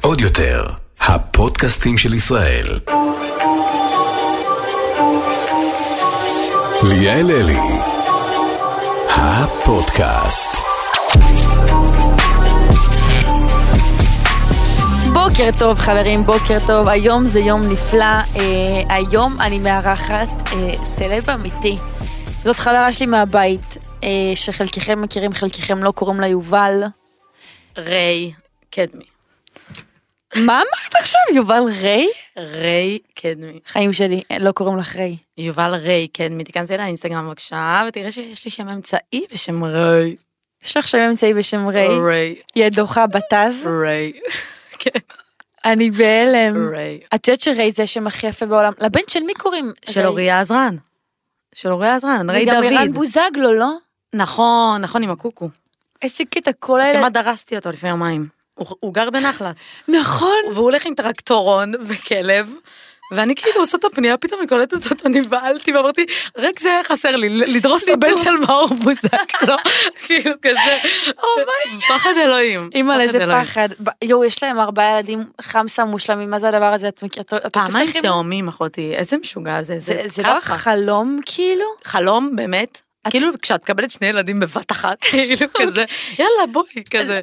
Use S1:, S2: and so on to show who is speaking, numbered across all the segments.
S1: עוד יותר, הפודקאסטים של ישראל. ליאל אלי, הפודקאסט.
S2: בוקר טוב חברים, בוקר טוב, היום זה יום נפלא, אה, היום אני מארחת אה, סלב אמיתי. זאת חברה שלי מהבית, אה, שחלקכם מכירים, חלקכם לא, קוראים לה יובל.
S3: ריי קדמי.
S2: מה אמרת עכשיו, יובל ריי?
S3: ריי קדמי.
S2: חיים שלי, אה, לא קוראים לך ריי.
S3: יובל ריי קדמי, תיכנסי לאינסטגרם בבקשה, ותראה שיש לי שם אמצעי בשם ריי.
S2: יש לך שם אמצעי בשם ריי, אה?
S3: ריי.
S2: היא הדוחה בתז,
S3: ריי. כן.
S2: אני בהלם.
S3: ריי.
S2: את יודעת שריי זה השם הכי יפה בעולם? לבן של מי קוראים?
S3: של
S2: ריי?
S3: אוריה עזרן. של אוריה עזרן, ריי
S2: וגם ערן
S3: דוד.
S2: בוזגלו, לא?
S3: נכון, נכון, עם הקוקו.
S2: איזה קטע, כל האלה...
S3: כמעט דרסתי אותו לפני יומיים. הוא- הוא גר בנחלת.
S2: נכון.
S3: והוא הולך עם טרקטורון וכלב. ואני כאילו עושה את הפנייה, פתאום אני קולטת אותה, נבהלתי ואמרתי, רק זה היה חסר לי, לדרוס את הבן של מאור בוזגלו, כאילו כזה, פחד אלוהים.
S2: אימא, איזה
S3: אלוהים.
S2: פחד. ב- יואו, יש להם ארבעה ילדים חמסה מושלמים, מה זה הדבר הזה? את מכירה? את- את-
S3: פעמיים
S2: את-
S3: תאומים, אחותי, איזה משוגע זה,
S2: זה
S3: זה
S2: זה לא
S3: כאפה.
S2: חלום כאילו?
S3: חלום, באמת.
S2: את-
S3: כאילו כשאת מקבלת שני ילדים בבת אחת, כאילו כזה, יאללה בואי, כזה.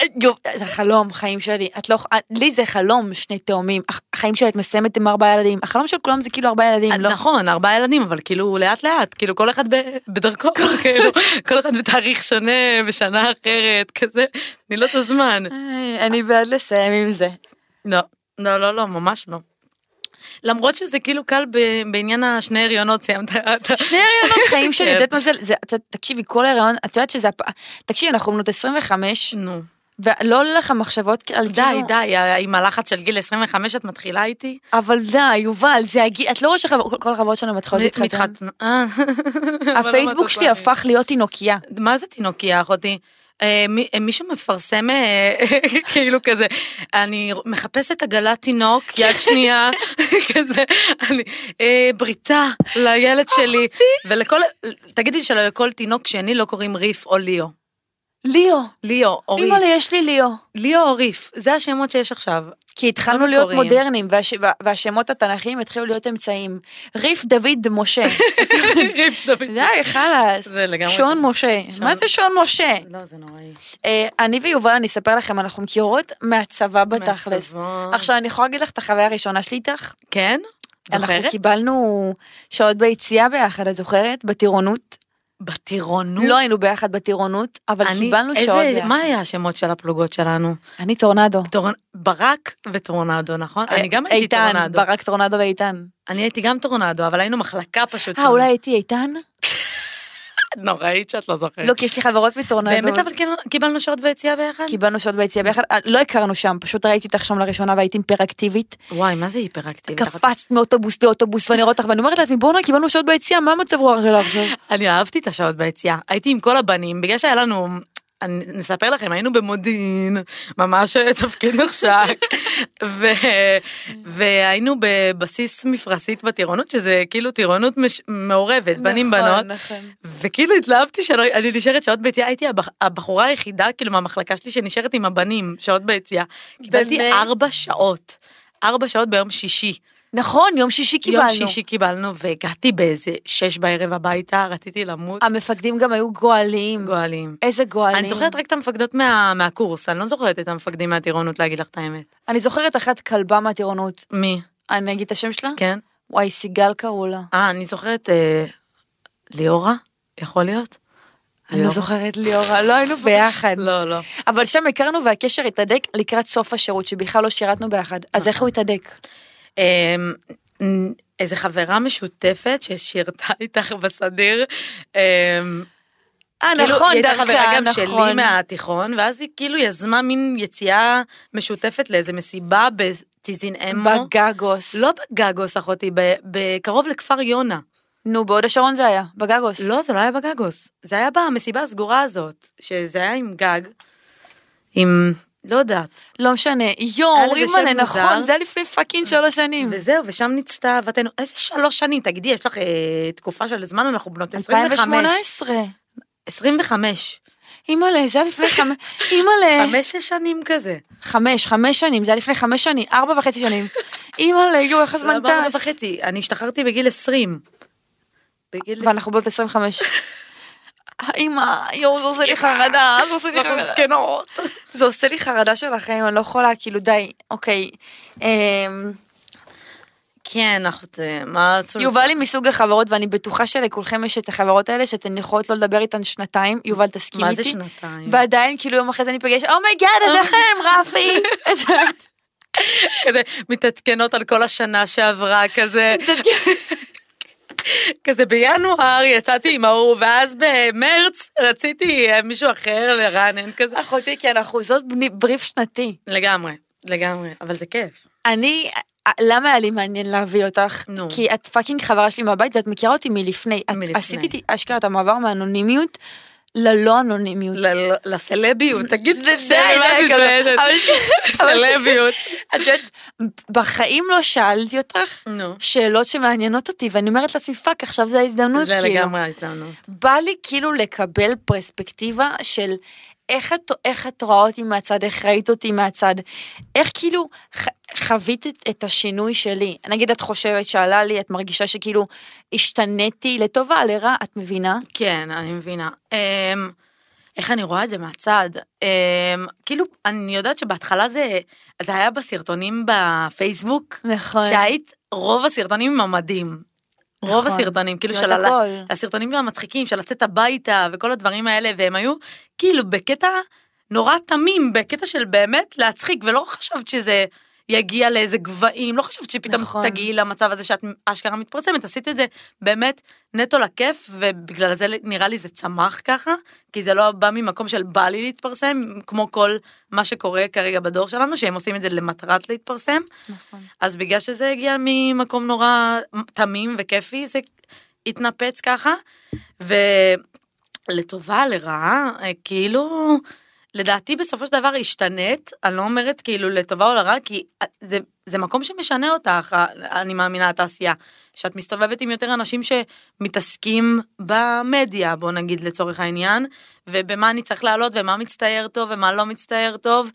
S2: אה, יואו, זה חלום, חיים שלי. את לא... לי זה חלום, שני תאומים. הח- החיים שלי, את מסיימת עם ארבעה ילדים. החלום של כולם זה כאילו ארבעה ילדים, לא?
S3: נכון, ארבעה ילדים, אבל כאילו לאט לאט, כאילו כל אחד ב- בדרכו, כאילו, כל אחד בתאריך שונה, בשנה אחרת, כזה, תני לו את הזמן.
S2: איי, אני בעד לסיים עם זה.
S3: לא, לא, לא, לא, ממש לא. למרות שזה כאילו קל ב- בעניין השני הריונות, סיימת את ה...
S2: שני הריונות חיים שלי,
S3: כן.
S2: את יודעת מה זה? זה- את יודעת, תקשיבי, כל הריון, את יודעת שזה... הפ- תקשיבי, אנחנו בנות 25,
S3: נו.
S2: ולא עולה לך מחשבות על
S3: די,
S2: כאילו...
S3: די, עם הלחץ של גיל 25 את מתחילה איתי?
S2: אבל די, יובל, זה הגיל... את לא רואה שכל החברות שלנו מתחילות להתחתן?
S3: מתחתנה. אה. לא
S2: הפייסבוק שלי הפך להיות תינוקייה.
S3: מה זה תינוקייה, אחותי? אה, מי- אה, מישהו מפרסם אה, כאילו כזה, אני מחפשת עגלת תינוק, יד שנייה, כזה, אני, אה, בריתה לילד שלי, ולכל, תגידי שלכל תינוק שני לא קוראים ריף או ליאו.
S2: ליאו.
S3: ליאו או ריף.
S2: אימא'לה, יש לי ליאו.
S3: ליאו או ריף, זה השמות שיש עכשיו.
S2: כי התחלנו להיות
S3: קוראים.
S2: מודרניים, והש- וה- והשמות התנ"כיים התחילו להיות אמצעים. ריף דוד משה.
S3: ריף דוד.
S2: די, חלאס.
S3: זה לגמרי.
S2: שון משה.
S3: שון-
S2: מה זה שון משה?
S3: לא, זה נוראי.
S2: אה, אני ויובל, אני אספר לכם, אנחנו מכירות מהצבא בתכלס.
S3: מהצבא.
S2: עכשיו, אני יכולה להגיד לך את החוויה הראשונה שלי איתך?
S3: כן?
S2: אנחנו
S3: זוכרת?
S2: קיבלנו שעות ביציאה ביחד, את זוכרת? בטירונות.
S3: בטירונות.
S2: לא היינו ביחד בטירונות, אבל
S3: אני-
S2: קיבלנו
S3: איזה-
S2: שעות ביחד.
S3: מה היה השמות של הפלוגות שלנו?
S2: אני טורנדו.
S3: טורנ- ברק וטורנדו, נכון? אני גם הייתי
S2: אה, איתן,
S3: טורנדו.
S2: ברק טורנדו ואיתן.
S3: אני הייתי גם טורנדו, אבל היינו מחלקה פשוט.
S2: אה,
S3: שונה.
S2: אולי הייתי איתן?
S3: נוראית שאת לא זוכרת.
S2: לא, כי יש לי חברות מטורנדו.
S3: באמת, אבל כן- קיבלנו שעות ביציאה ביחד?
S2: קיבלנו שעות ביציאה ביחד, אה, לא הכרנו שם, פשוט ראיתי אותך שם לראשונה והיית היפראקטיבית.
S3: וואי, מה זה היפראקטיבית?
S2: קפצת מאוטובוס לאוטובוס ואני רואה אותך ואני אומרת לעצמי, בואנה, קיבלנו שעות ביציאה, מה המצב רוח שלה עכשיו?
S3: אני אהבתי את השעות ביציאה, הייתי עם כל הבנים, בגלל שהיה לנו, אני, נספר לכם, היינו במודיעין, ממש תפקיד נחשק, ו, והיינו בבסיס מפרשית בטירונות, שזה כאילו טירונות מש, מעורבת,
S2: נכון,
S3: בנים בנות, וכאילו התלהבתי שלא, אני נשארת שעות ביציאה, הייתי הבח, הבחורה היחידה, כאילו מהמחלקה שלי, שנשארת עם הבנים, שעות ביציאה. קיבלתי
S2: באמת?
S3: ארבע שעות. ארבע שעות ביום שישי.
S2: נכון, יום שישי קיבלנו.
S3: יום שישי קיבלנו, והגעתי באיזה שש בערב הביתה, רציתי למות.
S2: המפקדים גם היו גועליים.
S3: גואלים.
S2: איזה גועלים.
S3: אני זוכרת רק את המפקדות מה- מהקורס, אני לא זוכרת את המפקדים מהטירונות להגיד לך את האמת.
S2: אני זוכרת אחת כלבה מהטירונות.
S3: מי?
S2: אני אגיד את השם שלה?
S3: כן?
S2: וואי, סיגל קראו לה.
S3: אה, אני זוכרת אה, ליאורה? יכול להיות?
S2: אני לא
S3: ליאורה?
S2: זוכרת ליאורה, לא היינו ביחד.
S3: לא, לא.
S2: אבל שם הכרנו והקשר התהדק לקראת סוף השירות, שבכלל לא שירתנו ביחד. אז
S3: נכון.
S2: איך הוא התהדק?
S3: אמ, נ- איזה חברה משותפת ששירתה איתך בסדיר. אמ,
S2: אה,
S3: כאילו,
S2: נכון,
S3: היא הייתה
S2: דרכה,
S3: חברה גם שלי
S2: נכון.
S3: מהתיכון, ואז היא כאילו יזמה מין יציאה משותפת לאיזה מסיבה בטיזין אמו.
S2: בגגוס.
S3: לא בגגוס, אחותי, ב- בקרוב לכפר יונה.
S2: נו, בהוד השרון זה היה, בגגוס.
S3: לא, זה לא היה בגגוס. זה היה במסיבה הסגורה הזאת, שזה היה עם גג, עם... לא יודעת.
S2: לא משנה.
S3: היה
S2: יואו,
S3: לזה
S2: אימא'לה,
S3: שם
S2: נכון,
S3: מוזר.
S2: זה היה לפני פאקינג שלוש שנים.
S3: וזהו, ושם נצטה אהבתנו. איזה שלוש שנים, תגידי, יש לך אה, תקופה של זמן, אנחנו בנות 25.
S2: 2018.
S3: 25.
S2: אימא'לה, זה היה לפני חמש, אימא'לה,
S3: חמש-שש שנים כזה.
S2: חמש, חמש שנים, זה היה לפני חמש שנים, ארבע וחצי שנים. אימא'לה, יואו, איך הזמן
S3: לא, בארבע
S2: טס.
S3: וחצי, אני השתחררתי בגיל 20. בגיל
S2: ואנחנו בנות 25. אימא, יואו, זה עושה לי חרדה, זה עושה
S3: לא,
S2: לי חרדה.
S3: זקנות.
S2: זה עושה לי חרדה של החיים, אני לא יכולה, כאילו, די, אוקיי. אמ,
S3: כן, אנחנו... ת- מה רצו
S2: יובל
S3: לעשות?
S2: היא מסוג החברות, ואני בטוחה שלכולכם יש את החברות האלה, שאתן יכולות לא לדבר איתן שנתיים, יובל תסכים
S3: מה
S2: איתי.
S3: זה שנתיים?
S2: ועדיין, כאילו, יום אחרי זה אני אפגש, אומייגאד, אז איך הם, רפי?
S3: כזה מתעדכנות על כל השנה שעברה, כזה... כזה בינואר יצאתי עם ההוא, ואז במרץ רציתי אה, מישהו אחר לרענן כזה.
S2: אחותי,
S3: כן,
S2: כי אנחנו זאת בני- בריף שנתי.
S3: לגמרי, לגמרי, אבל זה כיף.
S2: אני, אה, למה היה לי מעניין להביא אותך?
S3: נו.
S2: כי את פאקינג חברה שלי מהבית ואת מכירה אותי מלפני. את
S3: מלפני.
S2: עשית איתי אשכרה את המעבר מהאנונימיות ללא אנונימיות.
S3: ל- ל- לסלביות, תגיד את השם,
S2: די,
S3: מה
S2: די,
S3: לא, זה זה? לא
S2: אבל- אבל-
S3: סלביות.
S2: את יודעת, בחיים לא שאלתי אותך
S3: נו.
S2: שאלות שמעניינות אותי, ואני אומרת לעצמי, פאק, עכשיו זו ההזדמנות,
S3: זה
S2: כאילו.
S3: לגמרי ההזדמנות.
S2: בא לי כאילו לקבל פרספקטיבה של איך את, איך את רואה אותי מהצד, איך ראית אותי מהצד, איך כאילו ח, חווית את, את השינוי שלי. נגיד את חושבת שעלה לי, את מרגישה שכאילו השתניתי לטובה, לרע, את מבינה?
S3: כן, אני מבינה. אמ, איך אני רואה את זה מהצד? אמ, כאילו, אני יודעת שבהתחלה זה, זה היה בסרטונים בפייסבוק,
S2: נכון.
S3: שהיית רוב הסרטונים עם המדים. רוב
S2: נכון.
S3: הסרטונים, כאילו
S2: כמעט
S3: של הל-
S2: הכל.
S3: הסרטונים המצחיקים, של לצאת הביתה וכל הדברים האלה, והם היו כאילו בקטע נורא תמים, בקטע של באמת להצחיק, ולא חשבת שזה יגיע לאיזה גבהים, לא חשבת שפתאום
S2: נכון.
S3: תגיעי למצב הזה שאת אשכרה מתפרסמת, עשית את זה באמת נטו לכיף, ובגלל זה נראה לי זה צמח ככה, כי זה לא בא ממקום של בא לי להתפרסם, כמו כל מה שקורה כרגע בדור שלנו, שהם עושים את זה למטרת להתפרסם.
S2: נכון.
S3: אז בגלל שזה הגיע ממקום נורא תמים וכיפי, זה התנפץ ככה, ולטובה, לרעה, אה, כאילו, לדעתי בסופו של דבר השתנית, אני לא אומרת כאילו לטובה או לרעה, כי זה, זה מקום שמשנה אותך, ה- אני מאמינה, התעשייה. שאת מסתובבת עם יותר אנשים שמתעסקים במדיה, בוא נגיד לצורך העניין, ובמה אני צריך לעלות, ומה מצטייר טוב, ומה לא מצטייר טוב,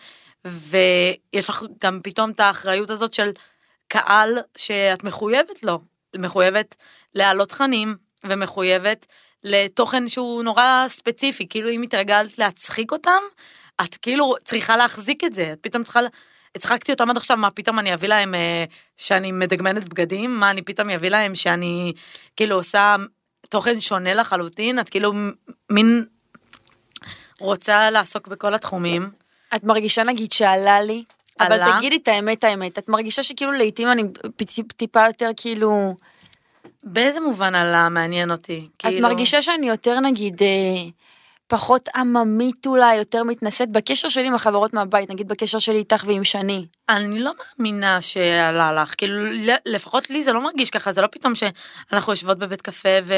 S3: ויש לך גם פתאום את האחריות הזאת של קהל שאת מחויבת לו, מחויבת להעלות תכנים, ומחויבת לתוכן שהוא נורא ספציפי, כאילו אם התרגלת להצחיק אותם, את כאילו צריכה להחזיק את זה, את פתאום צריכה... ל- הצחקתי אותם עד עכשיו, מה פתאום אני אביא להם אה, שאני מדגמנת בגדים? מה אני פתאום אביא להם שאני כאילו עושה תוכן שונה לחלוטין? את כאילו מ- מין רוצה לעסוק בכל התחומים.
S2: את מרגישה נגיד שעלה לי, אבל
S3: עלה?
S2: תגידי את האמת האמת, את מרגישה שכאילו לעתים אני פ- טיפה יותר כאילו...
S3: באיזה מובן עלה מעניין אותי? כאילו?
S2: את מרגישה שאני יותר נגיד אה, פחות עממית אולי, יותר מתנשאת בקשר שלי עם החברות מהבית, נגיד בקשר שלי איתך ועם שני.
S3: אני לא מאמינה שעלה לך, כאילו ל- לפחות לי זה לא מרגיש ככה, זה לא פתאום שאנחנו יושבות בבית קפה ו...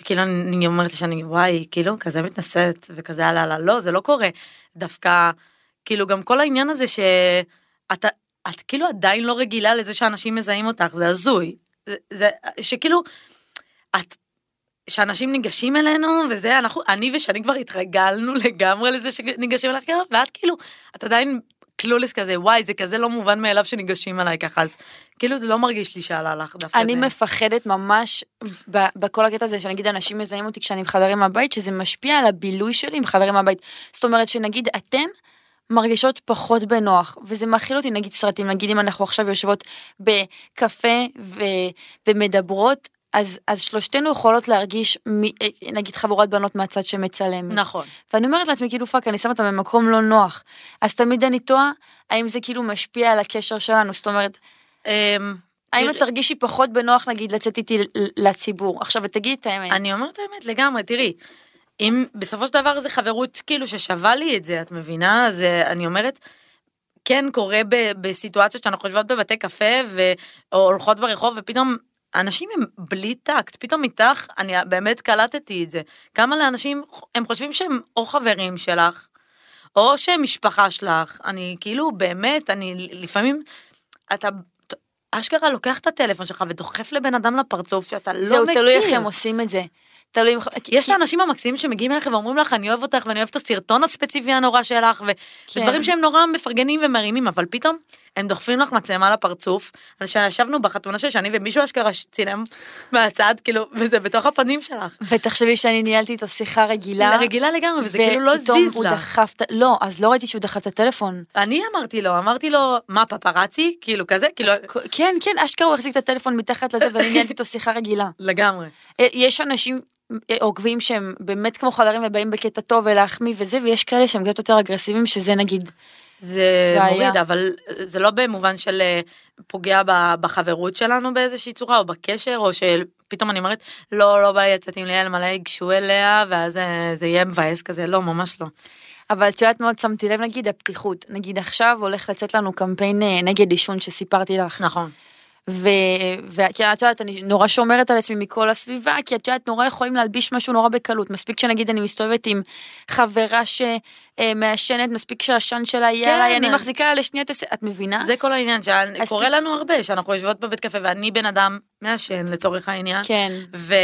S3: וכאילו אני אומרת לי שאני וואי, כאילו כזה מתנשאת וכזה עלה לה, לא, זה לא קורה. דווקא, כאילו גם כל העניין הזה שאת את כאילו עדיין לא רגילה לזה שאנשים מזהים אותך, זה הזוי. זה, זה שכאילו, את שאנשים ניגשים אלינו, וזה, אנחנו, אני ושני כבר התרגלנו לגמרי לזה שניגשים אליך ככה, ואת כאילו, את עדיין קלולס כזה, וואי, זה כזה לא מובן מאליו שניגשים אליי ככה, אז כאילו זה לא מרגיש לי שעלה לך דווקא
S2: אני
S3: זה.
S2: מפחדת ממש ב- בכל הקטע הזה שנגיד אנשים מזהים אותי כשאני עם חברים מהבית, שזה משפיע על הבילוי שלי עם חברים מהבית. זאת אומרת שנגיד אתן מרגישות פחות בנוח, וזה מאכיל אותי נגיד סרטים, נגיד אם אנחנו עכשיו יושבות בקפה ו- ומדברות, אז, אז שלושתנו יכולות להרגיש מ- אה, נגיד חבורת בנות מהצד שמצלמת.
S3: נכון.
S2: ואני אומרת לעצמי, כאילו, פאק, אני שמה אותם במקום לא נוח. אז תמיד אני תוהה, האם זה כאילו משפיע על הקשר שלנו? זאת אומרת,
S3: אמ,
S2: האם
S3: תראי-
S2: את תרגישי פחות בנוח, נגיד, לצאת איתי ל- לציבור? עכשיו, את תגידי את האמת.
S3: אני אומרת האמת לגמרי, תראי, אם בסופו של דבר זה חברות כאילו ששווה לי את זה, את מבינה? אז אה, אני אומרת, כן קורה ב- בסיטואציות שאנחנו יושבות בבתי קפה ו- או הולכות ברחוב ופתאום... אנשים הם בלי טקט, פתאום איתך, אני באמת קלטתי את זה. כמה לאנשים, הם חושבים שהם או חברים שלך, או שהם משפחה שלך. אני כאילו, באמת, אני לפעמים, אתה, אשכרה לוקח את הטלפון שלך ודוחף לבן אדם לפרצוף שאתה לא מכיר.
S2: זהו, תלוי איך הם עושים את זה. תלוי אם...
S3: יש את האנשים המקסימים שמגיעים אליך ואומרים לך, אני אוהב אותך ואני אוהב את הסרטון הספציפי הנורא שלך, ו-
S2: כן.
S3: ודברים שהם נורא מפרגנים ומרימים, אבל פתאום הם דוחפים לך מצלמה לפרצוף. על שישבנו בחתונה שלי, שאני ומישהו אשכרה ש- צילם מהצד, כאילו, וזה בתוך הפנים שלך.
S2: ותחשבי שאני ניהלתי איתו שיחה רגילה.
S3: רגילה לגמרי, וזה כאילו לא
S2: לא. ופתאום
S3: זיז
S2: הוא
S3: לה.
S2: דחף את... לא, אז לא ראיתי שהוא דחף את הטלפון.
S3: אני אמרתי לו, אמרתי לו, מה פפראצי? כאילו כזה, כאילו,
S2: כן, כן, אשכרה הוא החזיק את הטלפון מתחת לזה, ואני ניהלתי איתו שיחה רגילה.
S3: לגמרי.
S2: אה, יש אנשים אה, עוקבים שהם באמת כמו חברים ובאים בקטע טוב ולהחמיא וזה, ויש כאלה שהם קצת יותר אגרסיביים, שזה נגיד,
S3: זה
S2: בעיה.
S3: מוריד, אבל זה לא במובן של אה, פוגע ב- בחברות שלנו באיזושהי צורה, או בקשר, או שפתאום אני אומרת, לא, לא בא לי לצאת עם ליאל, מלא ייגשו אליה, ואז אה, זה יהיה מבאס כזה, לא, ממש לא.
S2: אבל את יודעת מאוד שמתי לב נגיד הפתיחות, נגיד עכשיו הולך לצאת לנו קמפיין אה, נגד עישון שסיפרתי לך,
S3: נכון.
S2: וכי את יודעת אני נורא שומרת על עצמי מכל הסביבה, כי את יודעת נורא יכולים להלביש משהו נורא בקלות, מספיק שנגיד אני מסתובבת עם חברה שמעשנת, מספיק שהעשן שלה יהיה
S3: כן.
S2: עליי, אני מחזיקה לשנייה את הס- את מבינה?
S3: זה כל העניין,
S2: אז
S3: שקורה
S2: פ-
S3: לנו הרבה, שאנחנו יושבות בבית קפה, ואני בן אדם מעשן לצורך העניין,
S2: כן,
S3: ו-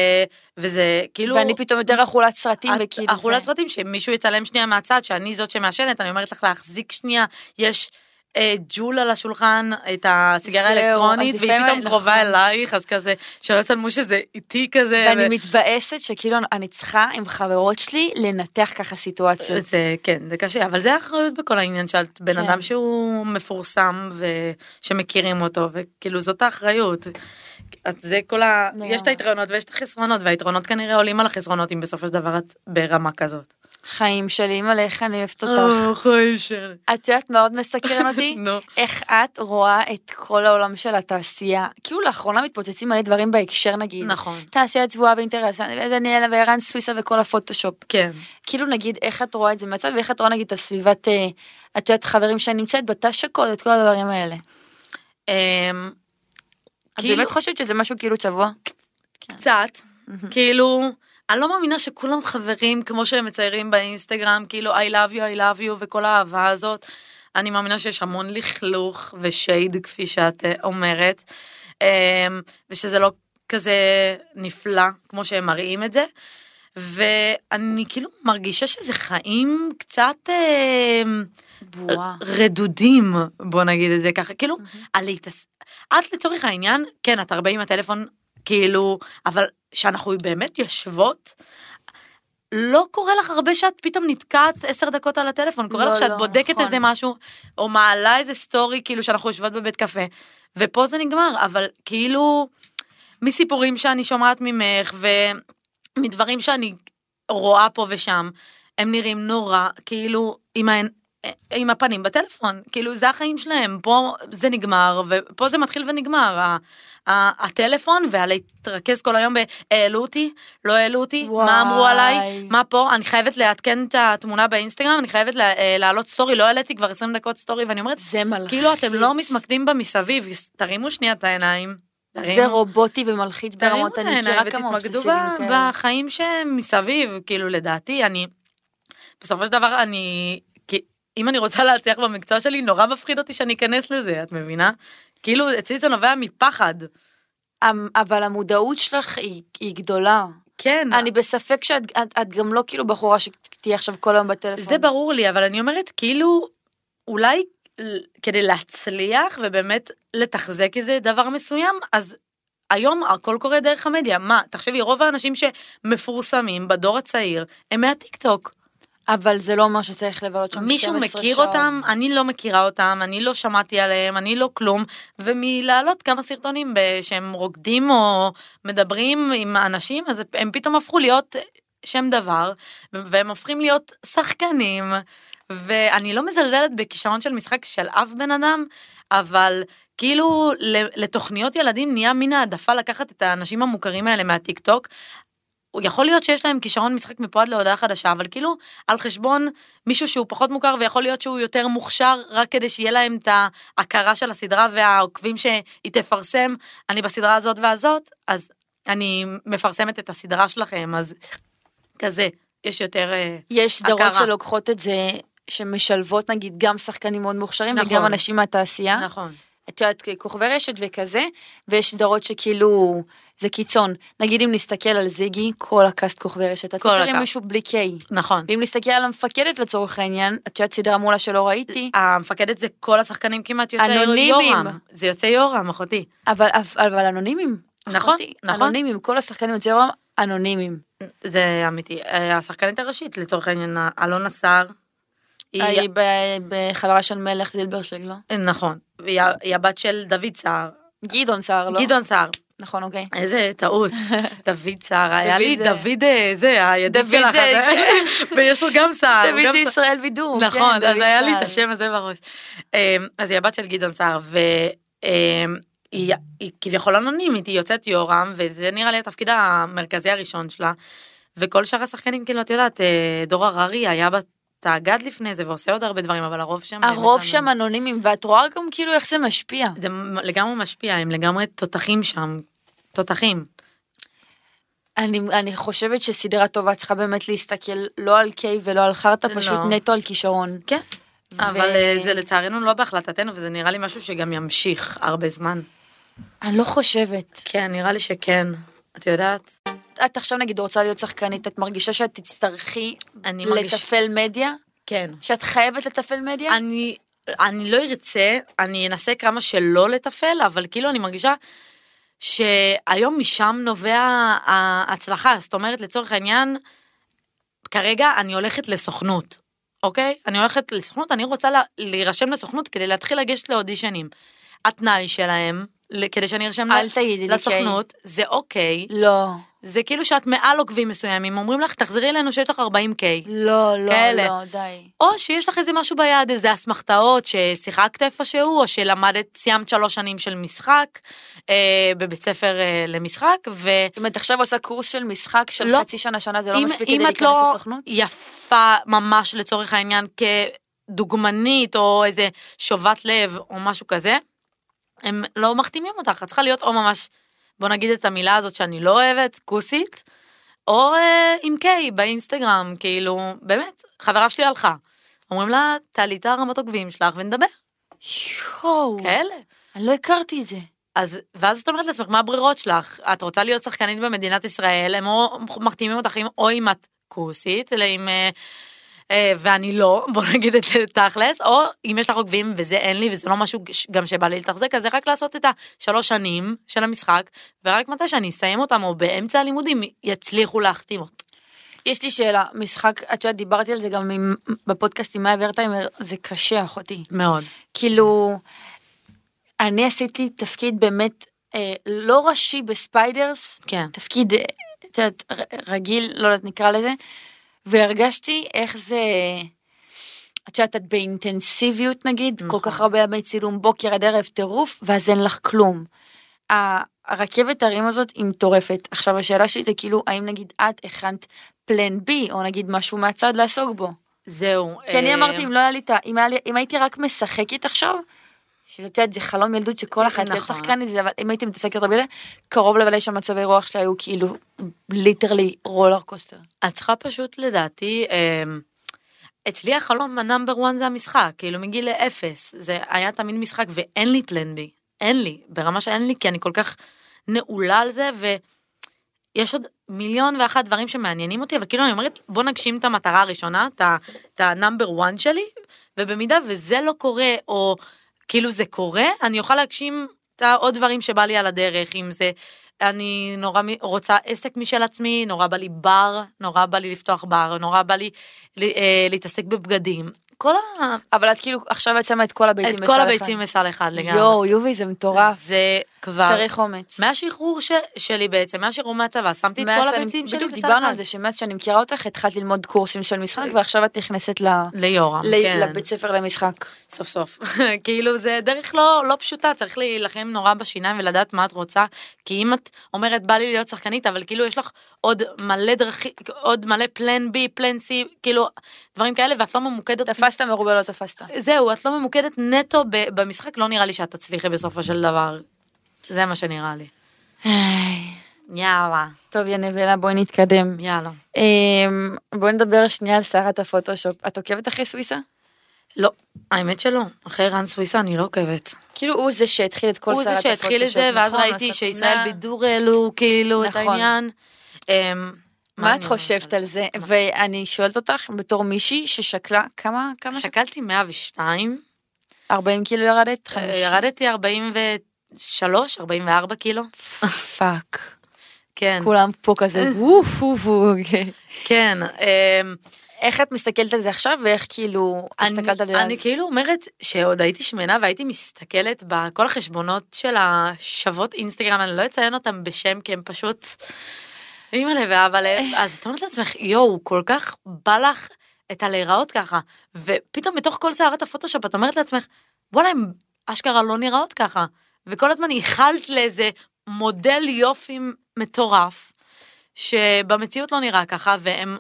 S3: וזה כאילו...
S2: ואני פתאום יותר אכולת סרטים
S3: את-
S2: וכאילו זה.
S3: אכולת סרטים, שמישהו יצלם שנייה מהצד, שאני זאת שמעשנת, אני אומרת לך להחזיק שנייה, יש אה, ג'ול על השולחן, את הסיגריה
S2: זהו,
S3: האלקטרונית,
S2: אז
S3: והיא
S2: לפעמים-
S3: פתאום קרובה
S2: נכון.
S3: אלייך, אז כזה, שלא יצלמו שזה איתי כזה. ו-
S2: ואני מתבאסת שכאילו אני צריכה עם חברות שלי לנתח ככה סיטואציות.
S3: זה, כן, זה קשה, אבל זה האחריות בכל העניין שאת בן
S2: כן.
S3: אדם שהוא מפורסם ושמכירים אותו, וכאילו זאת האחריות. את זה כל ה...
S2: לגמרי.
S3: יש את היתרונות ויש את החסרונות, והיתרונות כנראה עולים על החסרונות אם בסופו של דבר את ברמה כזאת.
S2: חיים שלי, אימא לאיך אני אוהבת
S3: אה.
S2: אותך.
S3: חיים שלי.
S2: את יודעת מה עוד מסקרן אותי?
S3: נו.
S2: איך את רואה את כל העולם של התעשייה. כאילו לאחרונה מתפוצצים מלא דברים בהקשר נגיד.
S3: נכון.
S2: תעשייה צבועה ואינטרס, ודניאלה וערן סוויסה וכל הפוטושופ.
S3: כן.
S2: כאילו נגיד איך את רואה את זה מהצד ואיך את רואה נגיד את הסביבת, אה, את יודעת חברים שאני נמצאת בתש הכל, את כל הדברים האלה.
S3: אמ,
S2: את
S3: כאילו,
S2: באמת חושבת שזה משהו כאילו צבוע?
S3: קצת, כאילו, אני לא מאמינה שכולם חברים כמו שהם מציירים באינסטגרם, כאילו, I love you, I love you, וכל האהבה הזאת. אני מאמינה שיש המון לכלוך ושייד, כפי שאת אה, אומרת, אמ, ושזה לא כזה נפלא כמו שהם מראים את זה. ואני כאילו מרגישה שזה חיים קצת... אמ,
S2: בועה.
S3: רדודים, בוא נגיד את זה ככה, כאילו, על להתעס... את לצורך העניין, כן, את הרבה עם הטלפון, כאילו, אבל שאנחנו באמת יושבות, לא קורה לך הרבה שאת פתאום נתקעת עשר דקות על הטלפון, קורה
S2: לא,
S3: לך שאת
S2: לא,
S3: בודקת
S2: נכון.
S3: איזה משהו, או מעלה איזה סטורי, כאילו, שאנחנו יושבות בבית קפה, ופה זה נגמר, אבל כאילו, מסיפורים שאני שומעת ממך, ומדברים שאני רואה פה ושם, הם נראים נורא, כאילו, עם, ה... עם הפנים בטלפון, כאילו, זה החיים שלהם, פה זה נגמר, ופה זה מתחיל ונגמר, ה... ה... הטלפון, ולהתרכז כל היום ב... העלו אותי, לא העלו אותי,
S2: וואי.
S3: מה אמרו עליי, מה פה, אני חייבת לעדכן את התמונה באינסטגרם, אני חייבת לה... אה, להעלות סטורי, לא העליתי כבר 20 דקות סטורי, ואני אומרת,
S2: זה מלחיץ.
S3: כאילו, אתם לא מתמקדים במסביב, תרימו שנייה את העיניים.
S2: זה
S3: תרימו.
S2: רובוטי ומלחיץ
S3: תרימו
S2: ברמות,
S3: את
S2: אני
S3: העיניים
S2: מכירה כמה
S3: ותתמקדו
S2: אובססיביים
S3: ב-
S2: כאלה.
S3: בחיים שמסביב, כאילו לדעתי, אני, בסופו של דבר אני, כי אם אני רוצה להצליח במקצוע שלי, נורא מפחיד אותי שאני אכנס לזה, את מבינה? כאילו, אצלי זה נובע מפחד.
S2: המ- אמ, אבל המודעות שלך היא, היא גדולה.
S3: כן.
S2: אני בספק שאת את, את גם לא כאילו בחורה שתהיה עכשיו כל היום בטלפון.
S3: זה ברור לי, אבל אני אומרת, כאילו, אולי ל- כדי להצליח ובאמת לתחזק איזה דבר מסוים, אז היום הכל קורה דרך המדיה. מה, תחשבי, רוב האנשים שמפורסמים בדור הצעיר, הם מהטיקטוק.
S2: אבל זה לא אומר שצריך לבלות שם 12
S3: מישהו
S2: שעות.
S3: מכיר אותם, אני לא מכירה אותם, אני לא שמעתי עליהם, אני לא כלום, ומלהעלות כמה סרטונים ב- שהם רוקדים או מדברים עם אנשים, אז הם פתאום הפכו להיות שם דבר, והם הופכים להיות שחקנים, ואני לא מזלזלת בכישרון של משחק של אף בן אדם, אבל כאילו ל- לתוכניות ילדים נהיה מין העדפה לקחת את האנשים המוכרים האלה מהטיקטוק. יכול להיות שיש להם כישרון משחק מפה עד להודעה חדשה, אבל כאילו על חשבון מישהו שהוא פחות מוכר ויכול להיות שהוא יותר מוכשר רק כדי שיהיה להם את ההכרה של הסדרה והעוקבים שהיא תפרסם, אני בסדרה הזאת והזאת, אז אני מפרסמת את הסדרה שלכם, אז כזה, יש יותר... אה,
S2: יש סדרות
S3: הכרה.
S2: שלוקחות את זה, שמשלבות נגיד גם שחקנים מאוד מוכשרים
S3: נכון.
S2: וגם אנשים מהתעשייה.
S3: נכון.
S2: את יודעת, כוכבי רשת וכזה, ויש סדרות שכאילו, זה קיצון. נגיד אם נסתכל על זיגי, כל הקאסט כוכבי רשת, את
S3: כל
S2: לא תראי
S3: הקאסט.
S2: מישהו בלי קיי.
S3: נכון.
S2: ואם נסתכל על המפקדת לצורך העניין, את יודעת סדרה מעולה שלא ראיתי,
S3: המפקדת זה כל השחקנים כמעט יוצא
S2: אנונימיים.
S3: יורם. זה יוצא יורם, אחותי.
S2: אבל, אבל אנונימים.
S3: נכון,
S2: אחותי,
S3: נכון.
S2: אנונימים, כל השחקנים יוצאי רום אנונימים.
S3: זה אמיתי. אה, השחקנית הראשית, לצורך העניין, אלונה סער. אה, היא-
S2: היא אה, ב- בחברה של מלך זילברשלג, לא?
S3: נכון. והיא ה- היא הבת של דוד סער.
S2: גדעון סער, לא?
S3: גדעון סער.
S2: נכון, אוקיי.
S3: איזה טעות. דוד סער, היה
S2: דוד
S3: לי
S2: זה-
S3: דוד אה, זה, הידיד
S2: דוד
S3: שלך.
S2: זה-
S3: אז- ויש לו גם סער. אה, הוא
S2: דוד
S3: גם
S2: זה
S3: סער.
S2: ישראל בידור. כן,
S3: נכון, אז
S2: דוד
S3: היה לי את
S2: סער.
S3: השם הזה בראש. אמ, אז היא הבת של גדעון סער, והיא כביכול אנונימית, היא יוצאת יורם, וזה נראה לי התפקיד המרכזי הראשון שלה. וכל שאר השחקנים, כאילו, את יודעת, אה, דור הררי היה בתאגד לפני זה, ועושה עוד הרבה דברים, אבל הרוב שם... באמת
S2: הרוב שם
S3: אנונימי.
S2: אנונימים, ואת רואה גם כאילו איך זה משפיע.
S3: זה מ- לגמרי משפיע, הם לגמרי תותחים שם. תותחים.
S2: אני, אני חושבת שסדרה טובה צריכה באמת להסתכל לא על קיי ולא על חרטא,
S3: לא.
S2: פשוט נטו על כישרון.
S3: כן.
S2: ו-
S3: אבל אה, זה לצערנו לא בהחלטתנו, וזה נראה לי משהו שגם ימשיך הרבה זמן.
S2: אני לא חושבת.
S3: כן, נראה לי שכן. את יודעת?
S2: את עכשיו נגיד רוצה להיות שחקנית, את מרגישה שאת תצטרכי
S3: אני מרגיש-
S2: לתפעל מדיה?
S3: כן.
S2: שאת חייבת לתפעל מדיה?
S3: אני, אני לא ארצה, אני אנסה כמה שלא לתפעל, אבל כאילו אני מרגישה שהיום משם נובע ההצלחה. זאת אומרת, לצורך העניין, כרגע אני הולכת לסוכנות, אוקיי? אני הולכת לסוכנות, אני רוצה לה, להירשם לסוכנות כדי להתחיל לגשת לאודישנים. התנאי שלהם, ל- כדי שאני ארשם
S2: אל
S3: ל-
S2: תגידי לי,
S3: לסוכנות, זה אוקיי.
S2: לא,
S3: זה כאילו שאת מעל עוקבים מסוימים, אומרים לך, תחזרי אלינו שיש לך 40K.
S2: לא, לא,
S3: כאלה.
S2: לא, די.
S3: או שיש לך איזה משהו ביד, איזה אסמכתאות, ששיחקת איפשהו, או שלמדת, סיימת שלוש שנים של משחק, אה, בבית ספר אה, למשחק, ו...
S2: אם את עכשיו עושה קורס של משחק של
S3: לא.
S2: חצי שנה, שנה, זה לא
S3: אם-
S2: מספיק
S3: אם
S2: כדי
S3: את
S2: להיכנס
S3: לא
S2: לסוכנות?
S3: יפה ממש לצורך העניין כדוגמנית, או איזה שובת לב, או משהו כזה, הם לא מחתימים אותך, את צריכה להיות או ממש, בוא נגיד את המילה הזאת שאני לא אוהבת, כוסית, או אה, עם קיי באינסטגרם, כאילו, באמת, חברה שלי הלכה. אומרים לה, תעלי את הרמת עוקבים שלך ונדבר.
S2: יואו,
S3: כאלה.
S2: אני לא הכרתי את זה.
S3: אז, ואז את אומרת לעצמך, מה הברירות שלך? את רוצה להיות שחקנית במדינת ישראל, הם או מחתימים אותך עם, או אם את כוסית, אלא אם... אה, אה, ואני לא, בוא נגיד את זה תכלס, או אם יש לך עוקבים וזה אין לי וזה לא משהו ש- גם שבא לי לתחזק, אז זה רק לעשות את השלוש שנים של המשחק, ורק מתי שאני אסיים אותם או באמצע הלימודים יצליחו להחתים אותי.
S2: יש לי שאלה, משחק, את יודעת, דיברתי על זה גם עם, בפודקאסט עם מאיה ורטהיימר, זה קשה, אחותי.
S3: מאוד.
S2: כאילו, אני עשיתי תפקיד באמת אה, לא ראשי בספיידרס,
S3: כן.
S2: תפקיד, אה, את יודעת, ר- רגיל, לא יודעת, נקרא לזה, והרגשתי איך זה... את יודעת, את באינטנסיביות נגיד, כל כך הרבה ימי צילום, בוקר עד ערב, טירוף, ואז אין לך כלום. ה- הרכבת הרים הזאת היא מטורפת. עכשיו, השאלה שלי זה כאילו, האם נגיד את הכנת פלן בי, או נגיד משהו מהצד לעסוק בו?
S3: זהו.
S2: כי אני
S3: אה,
S2: אמרתי, אם לא היה לי את ה... אם היה לי- אם הייתי רק משחקת עכשיו, שאת יודעת, זה חלום ילדות שכל אחת להיות
S3: נכון.
S2: שחקנית, וזה, אבל אם הייתי מתעסקת הרבה בזה, קרוב לוודאי שהמצבי רוח שלי היו כאילו ליטרלי רולר קוסטר.
S3: את צריכה פשוט לדעתי, אמ, אצלי החלום הנאמבר 1 זה המשחק, כאילו מגיל אפס, זה היה תמיד משחק ואין לי פלן בי, אין לי, ברמה שאין לי, כי אני כל כך נעולה על זה, ויש עוד מיליון ואחת דברים שמעניינים אותי, אבל כאילו אני אומרת, בוא נגשים את המטרה הראשונה, את ה- את הנאמבר 1 שלי, ובמידה וזה לא קורה, או כאילו זה קורה, אני אוכל להגשים את העוד דברים שבא לי על הדרך, אם זה, אני נורא מ- רוצה עסק משל עצמי, נורא בא לי בר, נורא בא לי לפתוח בר, נורא בא לי ל- אה, להתעסק בבגדים. כל ה...
S2: אבל את כאילו, עכשיו את שמה את כל הביצים
S3: את
S2: בסל
S3: כל
S2: אחד.
S3: הביצים בסל אחד לגמרי.
S2: יואו, יובי, זה מטורף.
S3: זה כבר...
S2: צריך אומץ.
S3: מהשחרור ש... שלי בעצם, מהשחרור מהצבא, שמתי את
S2: מאז
S3: כל
S2: שאני-
S3: הביצים שלי
S2: בדיוק
S3: בסל אחד.
S2: דיברנו על זה שמאז שאני מכירה אותך, התחלת ללמוד קורסים של משחק, ועכשיו את נכנסת ל-
S3: ליורם,
S2: ל-
S3: כן.
S2: לבית ספר למשחק.
S3: סוף סוף. כאילו זה דרך לא, לא פשוטה, צריך להילחם נורא בשיניים ולדעת מה את רוצה, כי אם את אומרת בא לי להיות שחקנית, אבל כאילו יש לך עוד מלא דרכים, עוד מלא פלן בי, פלן סי, כאילו דברים כאלה, ואת לא ממוקדת.
S2: תפסת מרובה לא תפסת.
S3: זהו, את לא ממוקדת נטו ב- במשחק, לא נראה לי שאת תצליחי בסופו של דבר. זה מה שנראה לי. יאללה.
S2: טוב, ינבלה, בואי נתקדם.
S3: יאללה.
S2: אמ, בואי נדבר שנייה על שרת הפוטושופ. את עוקבת אחרי סוויסה? לא.
S3: האמת שלא, אחרי רן סוויסה אני לא עוקבת.
S2: כאילו הוא זה שהתחיל את כל נכון,
S3: הוא
S2: סרט
S3: זה שהתחיל את זה, ואז ראיתי שישראל בידור העלו כאילו את
S2: נכון.
S3: העניין. אמ,
S2: מה את
S3: אני
S2: חושבת
S3: אומרת?
S2: על זה? ואני שואלת אותך, בתור מישהי ששקלה, כמה, כמה, שק-
S3: שקלתי 102,
S2: 40 קילו ירדת? 50?
S3: ירדתי 43, 44 קילו.
S2: פאק.
S3: כן,
S2: כולם פה כזה ווף ווף ווף.
S3: כן. אמ,
S2: איך את מסתכלת על זה עכשיו ואיך כאילו
S3: אני-
S2: הסתכלת על זה
S3: אני
S2: אז?
S3: כאילו אומרת שעוד הייתי שמנה והייתי מסתכלת בכל החשבונות של השוות אינסטגרם, אני לא אציין אותם בשם כי הם פשוט אימא'לה ואבא'לה,
S2: אה.
S3: אז את אומרת לעצמך, יואו, כל כך בא לך את הלהיראות ככה, ופתאום בתוך כל סערת הפוטושופ את אומרת לעצמך, וואלה, הם אשכרה לא נראות ככה, וכל הזמן ייחלת לאיזה מודל יופי מטורף, שבמציאות לא נראה ככה, והם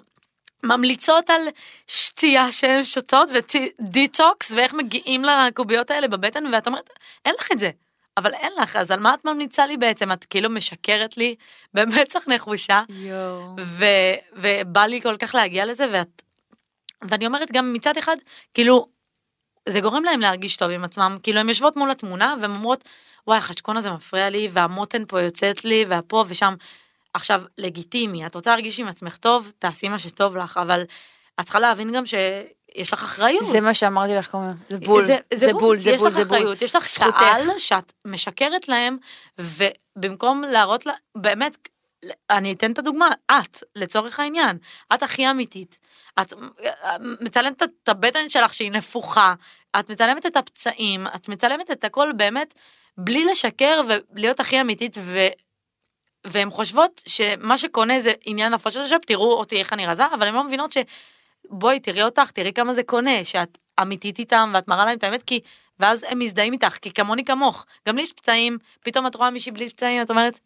S3: ממליצות על שתייה שהן שותות ודיטוקס ואיך מגיעים לקוביות האלה בבטן ואת אומרת אין לך את זה אבל אין לך אז על מה את ממליצה לי בעצם את כאילו משקרת לי במצח נחושה
S2: יואו.
S3: ו, ובא לי כל כך להגיע לזה ואת ואני אומרת גם מצד אחד כאילו זה גורם להם להרגיש טוב עם עצמם כאילו הם יושבות מול התמונה והן אומרות וואי החשקון הזה מפריע לי והמותן פה יוצאת לי והפה ושם עכשיו לגיטימי את רוצה להרגיש עם עצמך טוב תעשי מה שטוב לך אבל את צריכה להבין גם שיש לך אחריות.
S2: זה מה שאמרתי לך קודם, אה, זה
S3: אה,
S2: בול, זה בול, זה בול,
S3: יש
S2: זה
S3: לך
S2: בול.
S3: אחריות, יש לך
S2: זכותך.
S3: קהל שאת משקרת להם, ובמקום להראות לה, באמת, אני אתן את הדוגמה, את, לצורך העניין, את הכי אמיתית. את מצלמת את הבטן שלך שהיא נפוחה, את מצלמת את הפצעים, את מצלמת את הכל באמת, בלי לשקר ולהיות הכי אמיתית, ו... והן חושבות שמה שקונה זה עניין הפוטושופ, תראו אותי איך אני רזה, אבל הן לא מבינות ש... בואי תראי אותך, תראי כמה זה קונה, שאת אמיתית איתם ואת מראה להם את האמת, כי... ואז הם מזדהים איתך, כי כמוני כמוך. גם לי יש פצעים, פתאום את רואה מישהי בלי פצעים, את אומרת,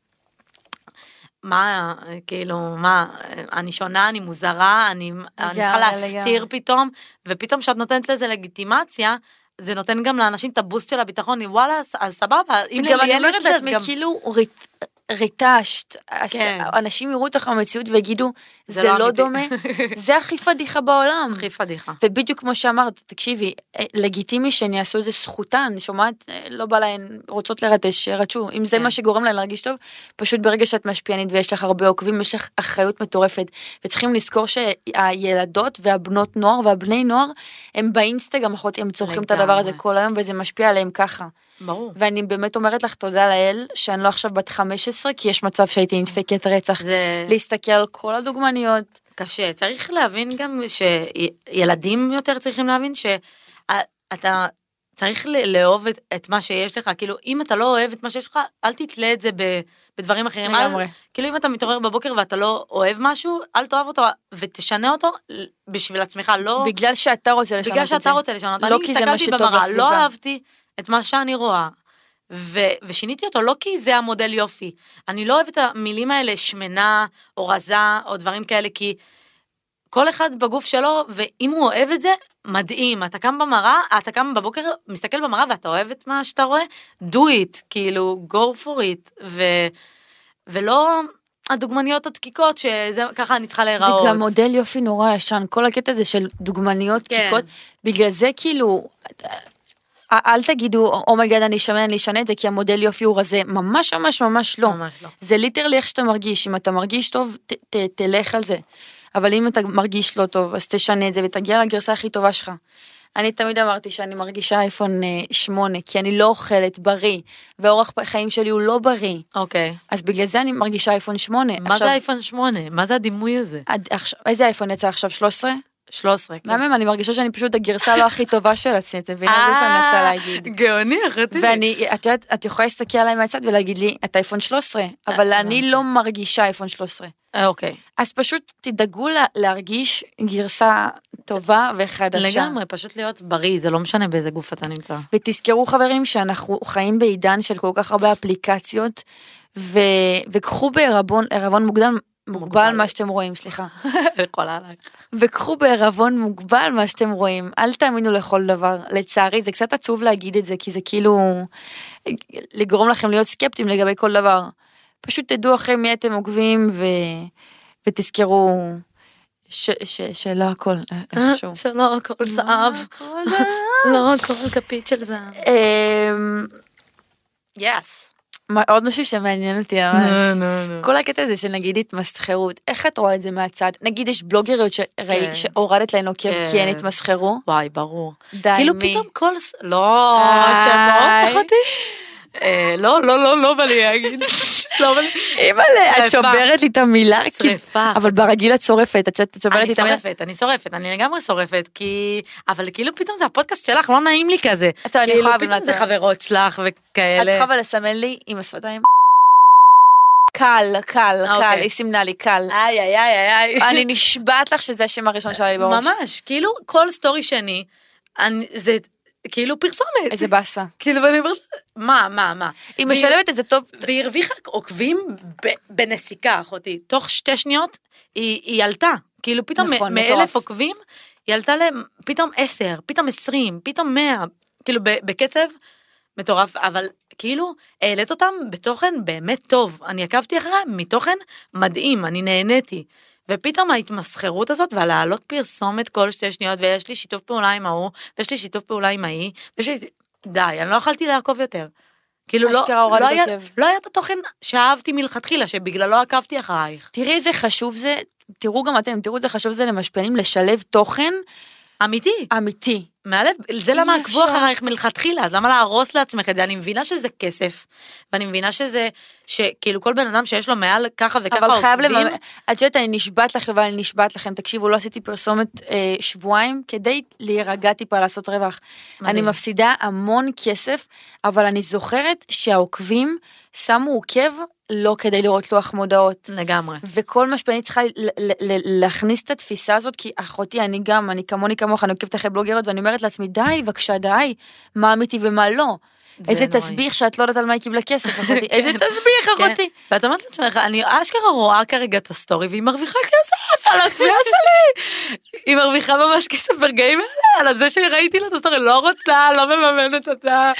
S3: מה, כאילו, מה, אני שונה, אני מוזרה, אני, אני צריכה
S2: לגמרי,
S3: להסתיר
S2: לגמרי.
S3: פתאום, ופתאום כשאת נותנת לזה לגיטימציה, זה נותן גם לאנשים את הבוסט של הביטחון, וואלה, אז- אז סבבה, אם
S2: גם
S3: לי
S2: אני
S3: אין
S2: אומרת
S3: את זה, אז
S2: לעצמי, כאילו ריט- ריטשת, אז
S3: כן.
S2: אנשים יראו אותך במציאות ויגידו,
S3: זה
S2: זה
S3: לא
S2: לא
S3: אמיתי."
S2: דומה, זה הכי פדיחה בעולם.
S3: הכי פדיחה.
S2: ובדיוק כמו שאמרת, תקשיבי, אה, לגיטימי שהן יעשו את זה זכותן, שומעת? אה, לא בא להן, רוצות לרטש, שירטשו. אם זה
S3: כן.
S2: מה שגורם להן להרגיש טוב, פשוט ברגע שאת משפיענית ויש לך הרבה עוקבים, יש לך אחריות מטורפת. וצריכים לזכור שהילדות והבנות נוער והבני נוער, הם באינסטגרם, אחותי, הם צורכים את הדבר הזה
S3: לגמרי.
S2: כל היום, וזה משפיע עליהם ככה.
S3: ברור.
S2: ואני באמת אומרת לך תודה לאל, שאני לא עכשיו בת 15, כי יש מצב שהייתי נדפקת רצח.
S3: זה...
S2: להסתכל על כל הדוגמניות.
S3: קשה. צריך להבין גם שילדים יותר צריכים להבין שאתה צריך ל- לאהוב את, את מה שיש לך. כאילו, אם אתה לא אוהב את מה שיש לך, אל תתלה את זה ב, בדברים אחרים. אל-
S2: לגמרי.
S3: כאילו, אם אתה מתעורר בבוקר ואתה לא אוהב משהו, אל תאהב אותו ותשנה אותו בשביל עצמך, לא...
S2: בגלל שאתה רוצה לשנות את זה.
S3: בגלל שאתה רוצה לשנות.
S2: לא כי זה מה שטוב
S3: אני הסתכלתי במראה,
S2: בסביבה.
S3: לא אהבתי את מה שאני רואה. ו- ושיניתי אותו לא כי זה המודל יופי. אני לא אוהבת את המילים האלה, שמנה, או רזה, או דברים כאלה, כי כל אחד בגוף שלו, ואם הוא אוהב את זה, מדהים. אתה קם במראה, אתה קם בבוקר, מסתכל במראה ואתה אוהב את מה שאתה רואה, do it, כאילו, go for it. ו... ולא הדוגמניות הדקיקות, שזה ככה אני צריכה
S2: זה
S3: להיראות.
S2: גם מודל יופי נורא ישן, כל הקטע הזה של דוגמניות
S3: כן.
S2: קיקות, בגלל זה כאילו, אה, אל תגידו, אומייגד אני אשמן, אני אשנה את זה, כי המודל יופי הוא רזה, ממש ממש ממש לא.
S3: ממש לא.
S2: זה ליטרלי איך שאתה מרגיש, אם אתה מרגיש טוב, ת, ת, תלך על זה. אבל אם אתה מרגיש לא טוב, אז תשנה את זה ותגיע לגרסה הכי טובה שלך. אני תמיד אמרתי שאני מרגישה אייפון 8, כי אני לא אוכלת בריא, ואורח חיים שלי הוא לא בריא,
S3: אוקיי.
S2: אז בגלל זה אני מרגישה אייפון 8.
S3: מה זה אייפון 8? מה זה הדימוי הזה?
S2: עד עכשיו, איזה אייפון יצא עכשיו? 13?
S3: 13, כן. לא
S2: מהמם, אני מרגישה שאני פשוט הגרסה לא הכי טובה של עצמי, את מבינה זה שאני
S3: אה,
S2: מנסה להגיד.
S3: גאוני, אחותי.
S2: ואני, את יודעת, את יכולה להסתכל עליי מהצד ולהגיד לי, את אייפון 13, אבל אני לא מרגישה אייפון 13.
S3: אה, אוקיי.
S2: אז פשוט תדאגו לה- להרגיש גרסה טובה וחדשה.
S3: לגמרי, פשוט להיות בריא, זה לא משנה באיזה גוף אתה נמצא.
S2: ותזכרו חברים שאנחנו חיים בעידן של כל כך הרבה אפליקציות, ו... וקחו בערבון, ערבון מוגדל, מוגבל
S3: מוגבל.
S2: מה שאתם רואים, סליחה.
S3: יכולה עלייך.
S2: וקחו בערבון מוגבל מה שאתם רואים, אל תאמינו לכל דבר. לצערי, זה קצת עצוב להגיד את זה, כי זה כאילו לגרום לכם להיות סקפטיים לגבי כל דבר. פשוט תדעו אחרי מי אתם עוקבים ו... ותזכרו ש- ש- שלא הכל אה, איכשהו.
S3: אה, שלא הכל זהב, לא הכל כפית של זהב.
S2: אמ,
S3: יס.
S2: מה, עוד משהו שמעניין אותי
S3: נו,
S2: ממש.
S3: נו, נו.
S2: כל הקטע הזה של נגיד התמסחרות, איך את רואה את זה מהצד? נגיד יש בלוגריות שראי-
S3: כן.
S2: שהורדת להן עוקב כי הן
S3: כן.
S2: התמסחרו?
S3: וואי, ברור.
S2: די,
S3: כאילו
S2: מי?
S3: פתאום כל... ס- לא,
S2: איי.
S3: שמות אחותי. אה, לא, לא, לא, לא בא לי להגיד. לא בא לי.
S2: אימא'לה, את
S3: שרפה.
S2: שוברת לי את המילה, כאילו,
S3: שרפה.
S2: אבל ברגיל את שורפת, את שאת שוברת לי
S3: אני
S2: את המילה.
S3: שורפת, אני שורפת, אני לגמרי שורפת, כי... אבל כאילו פתאום זה הפודקאסט שלך, לא נעים לי כזה.
S2: אתה, אני
S3: כאילו
S2: יכולה
S3: פתאום
S2: באמת-
S3: זה חברות שלך
S2: את
S3: וכאלה.
S2: צריכה אבל לסמן לי עם השפתיים. קל, קל,
S3: אה,
S2: קל,
S3: אוקיי.
S2: היא סימנה לי קל.
S3: איי, איי, איי, איי.
S2: אני נשבעת לך שזה השם הראשון שהיה לי בראש.
S3: ממש, כאילו כל סטורי שני, אני- זה כאילו פרסומת.
S2: איזה באסה.
S3: כאילו, ואני אומרת, מה, מה, מה?
S2: היא
S3: והיא-
S2: משלבת את זה טוב.
S3: והיא הרוויחה עוקבים ב- בנסיקה, אחותי. תוך שתי שניות היא, היא עלתה. כאילו פתאום
S2: נכון,
S3: נכון,
S2: מטורף.
S3: מאלף עוקבים, היא עלתה להם פתאום עשר, פתאום עשרים, פתאום מאה. כאילו ב- בקצב מטורף, אבל כאילו העלית אותם בתוכן באמת טוב. אני עקבתי אחריה מתוכן מדהים, אני נהניתי. ופתאום ההתמסחרות הזאת והלהעלות פרסומת כל שתי שניות, ויש לי שיתוף פעולה עם ההוא, ויש לי שיתוף פעולה עם ההיא, ויש לי... די, אני לא יכולתי לעקוב יותר. כאילו לא,
S2: אשכרה הורדת
S3: לא, היה,
S2: עוקב.
S3: לא היה את התוכן שאהבתי מלכתחילה, שבגללו עקבתי אחרייך.
S2: תראי איזה חשוב זה, תראו גם אתם, תראו איזה חשוב זה למשפיענים לשלב תוכן
S3: אמיתי,
S2: אמיתי.
S3: מהלב, זה למה
S2: אי
S3: עקבו
S2: אפשר.
S3: אחרייך מלכתחילה, אז למה להרוס לעצמך את זה? אני מבינה שזה כסף, ואני מבינה שזה, שכאילו כל בן אדם שיש לו מעל ככה וככה
S2: אבל חייב
S3: עוקבים,
S2: לממן, את יודעת, אני נשבעת לך, יובל, אני נשבעת לכם, תקשיבו, לא עשיתי פרסומת אה, שבועיים כדי להירגע טיפה לעשות רווח.
S3: מדהים.
S2: אני מפסידה המון כסף, אבל אני זוכרת שהעוקבים שמו עוקב לא כדי לראות לוח מודעות.
S3: לגמרי.
S2: וכל משפיענית צריכה ל- ל- ל- להכניס את התפיסה הזאת, כי אחותי, אני גם, אני כמוני כמוך, אני עוקבת אחרי בלוגריות, ואני אומרת לעצמי, די, בבקשה, די, מה אמיתי ומה לא.
S3: זה
S2: איזה
S3: נוראי.
S2: תסביך שאת לא יודעת על מה היא קיבלה כסף, אחותי. איזה תסביך,
S3: כן.
S2: אחותי.
S3: ואת אומרת לעצמך, אני אשכרה רואה כרגע את הסטורי והיא מרוויחה כסף על התביעה שלי. היא מרוויחה ממש כסף ברגעים האלה, על זה שראיתי לה את הסטורי, לא רוצה, לא מממנת אותה.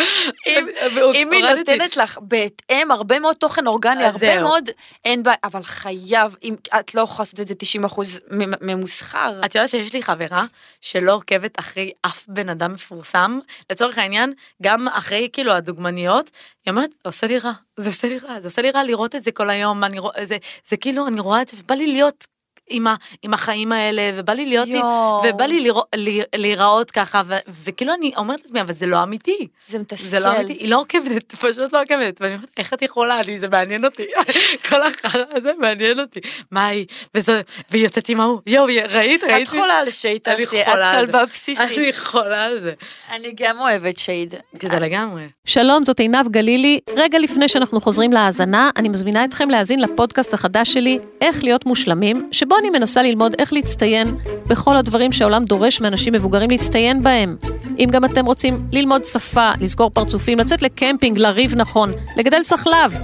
S2: אם-
S3: והוא-
S2: אם היא
S3: הורדתי.
S2: נותנת לך בהתאם הרבה מאוד תוכן אורגני,
S3: אז
S2: הרבה
S3: זהו.
S2: מאוד, אין בעיה, אבל חייב, אם את לא יכולה לעשות את זה 90% ממ- ממוסחר.
S3: את יודעת שיש לי חברה שלא עוקבת אחרי אף בן אדם מפורסם, לצורך העניין, גם אחרי כאילו הדוגמניות, היא אומרת, "זה עושה לי רע, זה עושה לי רע, זה עושה לי רע לראות את זה כל היום, אני רוא, זה, זה כאילו, אני רואה את זה, ובא לי להיות עם, ה, עם החיים האלה, ובא לי להיות, עם,
S2: יואו.
S3: ובא לי לרא, ל, להיראות ככה, ו, וכאילו אני אומרת לעצמי, אבל זה לא אמיתי.
S2: זה מתסכל.
S3: זה לא אמיתי, היא לא עוקבת, פשוט לא עוקבת, ואני אומרת, איך את יכולה, אני, זה מעניין אותי, כל החרא הזה מעניין אותי, מה היא, וזה- והיא יוצאת עם ההוא, יואו, היא- ראית, ראית?
S2: את חולה על שייד
S3: אני
S2: תעשי, את
S3: חולה על זה.
S2: כלבה בסיסית.
S3: אני חולה על זה.
S2: אני גם אוהבת שייד.
S3: כי זה לגמרי.
S4: שלום, זאת עינב גלילי. רגע לפני שאנחנו חוזרים להאזנה, אני מזמינה אתכם להאזין לפודקאסט החדש שלי, איך להיות מושלמים, שבו אני מנסה ללמוד איך להצטיין בכל הדברים שהעולם דורש מאנשים מבוגרים להצטיין בהם. אם גם אתם רוצים ללמוד שפה, לזכור פרצופים, לצאת לקמפינג, לריב נכון, לגדל סחלב,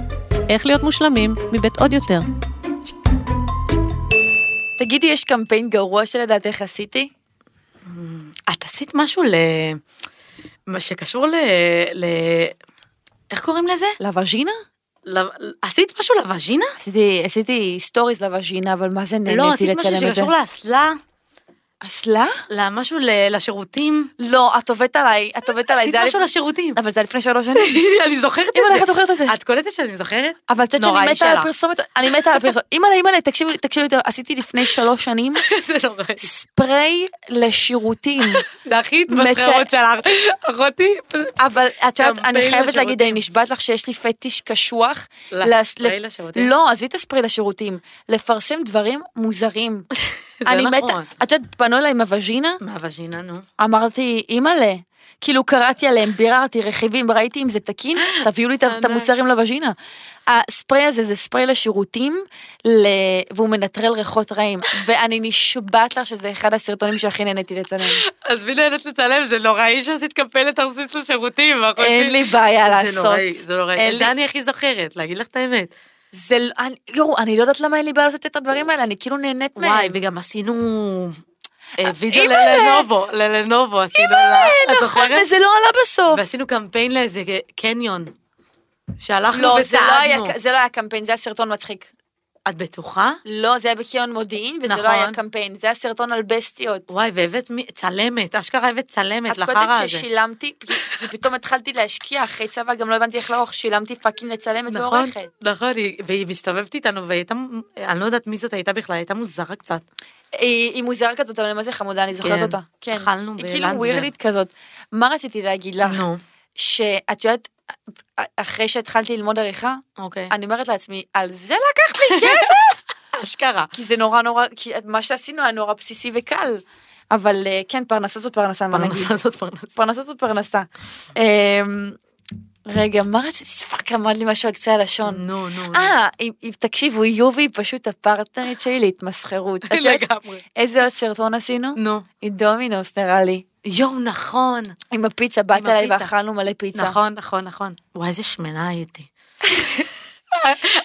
S4: איך להיות מושלמים מבית עוד יותר.
S2: תגידי, יש קמפיין גרוע שלדעתך עשיתי?
S3: את עשית משהו ל... מה שקשור ל... ל... איך קוראים לזה?
S2: לווז'ינה?
S3: ל- עשית משהו לווז'ינה?
S2: עשיתי, עשיתי סטוריז לווז'ינה, אבל מה זה
S3: לא,
S2: נהניתי
S3: עשית משהו
S2: לצלם את זה.
S3: שקשור לאסלה,
S2: אסלה?
S3: למשהו ל- לשירותים.
S2: לא, את עובדת עליי, את עובדת עליי,
S3: עשית
S2: זה היה
S3: משהו
S2: לפ-
S3: לשירותים.
S2: אבל זה היה לפני שלוש שנים.
S3: אני זוכרת את זה.
S2: אימא'לה, איך את זוכרת את זה?
S3: את קולטת שאני זוכרת?
S2: אבל את יודעת
S3: נורא,
S2: שאני מתה על
S3: אישה.
S2: הפרסומת, אני מתה על הפרסומת. אימא'לה, אימא'לה, תקשיבו לי, תקשיבו לי, עשיתי לפני שלוש שנים
S3: זה לא נוראי.
S2: ספרי לשירותים.
S3: זה הכי התמסחרות שלך. אחותי,
S2: אבל את יודעת, אני
S3: קמפיין
S2: חייבת להגיד, אני
S3: לשירותים.
S2: נשבעת לך שיש לי פטיש קשוח. לס-
S3: לספרי
S2: לפ-
S3: לשירותים?
S2: לא, עזבי את הספרי לשירותים. לפרסם דברים מוזרים.
S3: זה
S2: אני
S3: נכון.
S2: מתה, את יודעת, פנו אליי עם הווז'ינה,
S3: מה הווז'ינה, נו?
S2: אמרתי, אימא'לה. כאילו קראתי עליהם, ביררתי רכיבים, ראיתי אם זה תקין, תביאו לי את ה- את
S3: ענק.
S2: המוצרים לווז'ינה. הספרי הזה זה ספרי לשירותים, ל... והוא מנטרל ריחות רעים, ואני נשבעת לך שזה אחד הסרטונים שהכי נהניתי לצלם.
S3: אז מי נהנית לצלם? זה נוראי שעשית קמפיין לתרסיס לשירותים, אחותי.
S2: אין לי בעיה
S3: זה
S2: לעשות.
S3: נוראי, זה נוראי.
S2: אין
S3: את
S2: לי-
S3: זה אני הכי זוכרת, להגיד לך את האמת.
S2: זה לא, אני- יואו, אני לא יודעת למה אין לי בעיה לעשות את הדברים האלה, אני כאילו נהנית מהם.
S3: וואי, וגם עשינו אה, וידאו
S2: אימא'לה.
S3: ללנובו, ללנובו עשינו לה, את
S2: נכון,
S3: זוכרת?
S2: וזה לא עלה בסוף.
S3: ועשינו קמפיין לאיזה קניון, שהלכנו
S2: לא, זה לא היה-
S3: וצעדנו.
S2: זה לא היה קמפיין, זה היה סרטון מצחיק.
S3: את בטוחה?
S2: לא, זה היה בקיון מודיעין, וזה
S3: נכון.
S2: לא היה קמפיין, זה היה סרטון על בסטיות.
S3: וואי, והבאת מי- צלמת, אשכרה הבאת צלמת
S2: את
S3: לחרא
S2: קודם
S3: הזה.
S2: ששילמתי, כי כי פתאום התחלתי להשקיע אחרי צבא, גם לא הבנתי איך לערוך, שילמתי פאקינג לצלמת
S3: נכון,
S2: ועורכת.
S3: נכון, היא- והיא מסתובבת איתנו, והיא הייתה, אני לא יודעת מי זאת הייתה בכלל, הייתה מוזרה קצת.
S2: היא היא מוזרה כזאת, אבל מה זה חמודה, אני זוכרת
S3: כן.
S2: אותה. כן,
S3: אכלנו
S2: היא כאילו
S3: בלנדבר.
S2: ווירדית כזאת. מה רציתי להגיד לך?
S3: נו,
S2: שאת יודעת, אה, אחרי שהתחלתי ללמוד עריכה,
S3: אוקיי.
S2: אני אומרת לעצמי, על זה לקחת לי כסף?
S3: אשכרה.
S2: כי זה נורא נורא, כי מה שעשינו היה נורא בסיסי וקל. אבל אה, כן, פרנסה זאת פרנסה, מה נגיד?
S3: פרנסה זאת פרנסה.
S2: פרנסה זאת פרנסה. אמ, רגע, מה רציתי? פאק, עמד לי משהו על קצה הלשון.
S3: נו, נו. נו.
S2: אה, אם- אם- תקשיבו, יובי היא פשוט הפרטנרית שלי להתמסחרות. את יודעת
S3: לגמרי.
S2: איזה עוד סרטון עשינו?
S3: נו.
S2: עם דומינוס נראה לי.
S3: יואו, נכון.
S2: עם הפיצה, באת
S3: עם
S2: אליי
S3: הפיצה.
S2: ואכלנו מלא פיצה.
S3: נכון, נכון, נכון. וואי, איזה שמנה הייתי.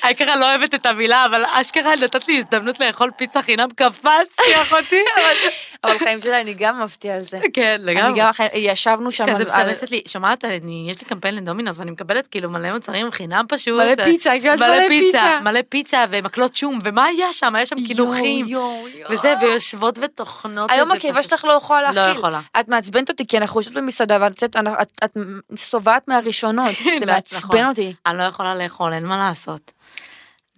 S3: אשכרה לא אוהבת את המילה, אבל אשכרה נתת לי הזדמנות לאכול פיצה חינם, קפצתי אחותי.
S2: אבל חיים שלי, אני גם עפתי על זה.
S3: כן,
S2: אני
S3: לגמרי.
S2: גם, אחרי- ישבנו שם
S3: כזה
S2: על- על-
S3: מסמסת לי, שומעת, אני, יש לי קמפיין לדומינוס ואני מקבלת כאילו מלא מוצרים חינם פשוט.
S2: מלא פיצה,
S3: אה,
S2: קיבלת מלא פיצה.
S3: מלא פיצה ומקלות שום, ומה היה שם? היה שם קינוחים.
S2: יואו, יואו.
S3: וזה, ויושבות וטוחנות.
S2: היום
S3: את זה
S2: הקיבה
S3: פשוט.
S2: שלך לא יכולה
S3: לא
S2: להכיל.
S3: יכולה.
S2: את מעצבנת אותי, כי אנחנו יושבות במסעדה, ואת יודעת, אנחנו- את- את שובעת מהראשונות. זה
S3: נכון.
S2: מעצבן אותי.
S3: אני לא יכולה לאכול, אין מה לעשות.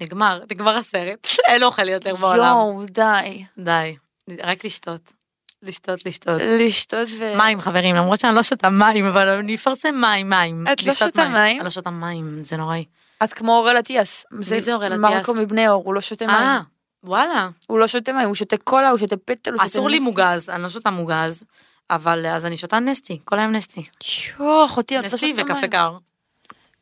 S3: נגמר, נגמר הסרט. אין אוכל יותר בעולם.
S2: יואו, די.
S3: די, רק לשתות. לשתות, לשתות.
S2: לשתות ו...
S3: מים חברים, למרות שאני לא שותה מים, אבל אני אפרסם מים, מים.
S2: את לא
S3: לשתות
S2: שותה מים?
S3: אני לא שותה מים, זה נוראי.
S2: את כמו אורל אטיאס.
S3: זה אוראל אטיאס?
S2: מרקו מבני אור, הוא לא שותה
S3: אה,
S2: מים.
S3: וואלה.
S2: הוא לא שותה מים, הוא שותה קולה, הוא שותה פטל, הוא שותה...
S3: אסור לי
S2: נס-
S3: מוגז, אני לא שותה מוגז, אבל אה, אז אני שותה נסטי, כל היום נסטי.
S2: יואו, אחותי, את לא
S3: נסטי
S2: שותה
S3: וקפה
S2: מים.
S3: קר.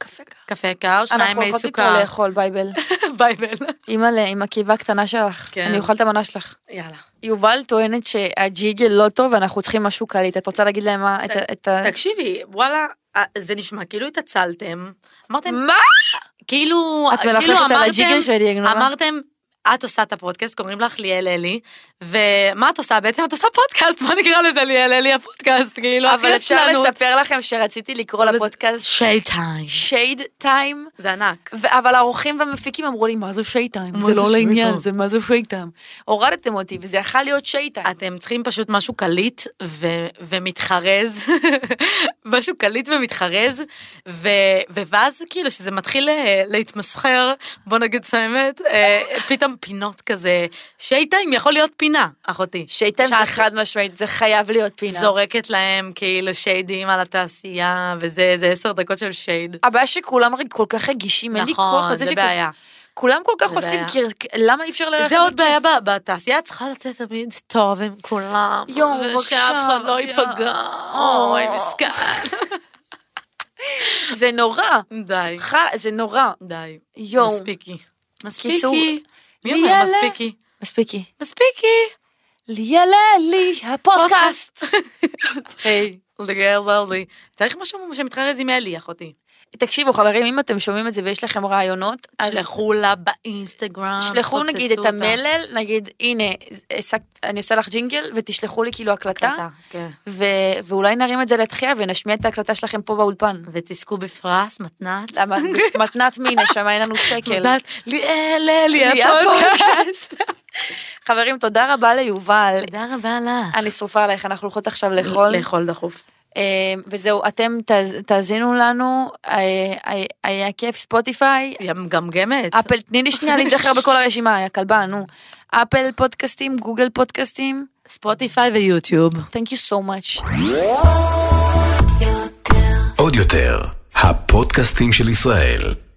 S2: קפה קר.
S3: קפה קר, שניים
S2: אנחנו
S3: מי
S2: הולכות לקרוא
S3: סוכר.
S2: לאכול, בייבל.
S3: בייבל.
S2: אימא'לה, עם הקיבה הקטנה שלך.
S3: כן.
S2: אני אוכל את המנה שלך.
S3: יאללה.
S2: יובל טוענת שהג'יגל לא טוב ואנחנו צריכים משהו קליט. את רוצה להגיד להם מה? את ה- את ה...
S3: תקשיבי, וואלה, אה, זה נשמע כאילו התעצלתם. אמרתם,
S2: מה?
S3: כאילו,
S2: את מלכלכת
S3: כאילו
S2: על
S3: אמרתם-
S2: הג'יגל שלי, גנובה.
S3: אמרתם, את עושה את הפודקאסט, קוראים לך ליאל אלי, ומה את עושה? בעצם את עושה פודקאסט, מה נקרא לזה ליאל אלי הפודקאסט? כאילו, הכי
S2: אבל אפשר
S3: עצלנות.
S2: לספר לכם שרציתי לקרוא לפודקאסט
S3: שי טיים.
S2: שייד טיים,
S3: זה ענק.
S2: אבל העורכים והמפיקים אמרו לי, מה זה שייד טיים?
S3: מה
S2: זה
S3: זה
S2: לא
S3: shade
S2: לעניין,
S3: time?"
S2: זה מה זה שייד טיים. הורדתם אותי, וזה יכול להיות שייד טיים.
S3: אתם צריכים פשוט משהו קליט ו- ומתחרז, משהו קליט ומתחרז, ו- ואז כאילו שזה מתחיל אה, להתמסחר, בוא נגיד את האמת, אה, פתאום פינות כזה, שייטיים יכול להיות פינה, אחותי.
S2: שייד טיים זה
S3: שאת
S2: חד משמעית, זה חייב להיות פינה.
S3: זורקת להם כאילו שיידים על התעשייה, וזה זה עשר דקות של שייד.
S2: הבעיה שכולם הרי כל כך רגישים, אין לי כוח
S3: נכון,
S2: לזה
S3: זה
S2: שכל-
S3: בעיה.
S2: כולם כל כך
S3: זה
S2: עושים,
S3: בעיה.
S2: קיר- למה אי אפשר ללכת?
S3: זה עוד
S2: בכיף?
S3: בעיה ב- בתעשייה, את צריכה לצאת תמיד טוב עם כולם.
S2: יואו,
S3: ושאף
S2: בבקשה,
S3: אחד לא
S2: יואו.
S3: ייפגע. אוי,
S2: אוי.
S3: מסכן.
S2: זה נורא.
S3: די.
S2: חל- זה נורא.
S3: די.
S2: יואו.
S3: מספיקי.
S2: קיצור,
S3: מספיקי. מי אומר
S2: ליאלה.
S3: מספיקי?
S2: מספיקי.
S3: מספיקי.
S2: ליאלה לי, הפודקאסט.
S3: היי. לגמרי. צריך משהו שמתחרז עם אלי, אחותי.
S2: תקשיבו חברים, אם אתם שומעים את זה ויש לכם רעיונות, אז
S3: שלחו לה באינסטגרם.
S2: תשלחו
S3: פוצצו
S2: נגיד את
S3: אותה.
S2: המלל, נגיד הנה, העסק- אני עושה לך ג'ינגל ותשלחו לי כאילו
S3: הקלטה,
S2: הקלטה,
S3: כן.
S2: ו- ואולי נרים את זה לתחייה ונשמיע את ההקלטה שלכם פה באולפן.
S3: ותזכו בפרס, מתנת.
S2: למה? מתנת מי, נשמה, אין לנו שקל.
S3: מתנת. ליאל, אלי, הפודקאסט.
S2: הפודקאסט. חברים, תודה רבה ליובל.
S3: תודה רבה לך.
S2: אני שרופה עלייך, אנחנו הולכות עכשיו לאכול.
S3: לאכול דחוף.
S2: אה, וזהו, אתם תאז- תאזינו לנו, אה, אה, היה כיף, ספוטיפיי,
S3: היא מגמגמת.
S2: אפל, תני לי שנייה להיזכר בכל הרשימה, יא כלבה, נו. אפל פודקאסטים, גוגל פודקאסטים,
S3: ספוטיפיי ויוטיוב.
S2: Thank you so much.
S1: עוד יותר, הפודקאסטים של ישראל.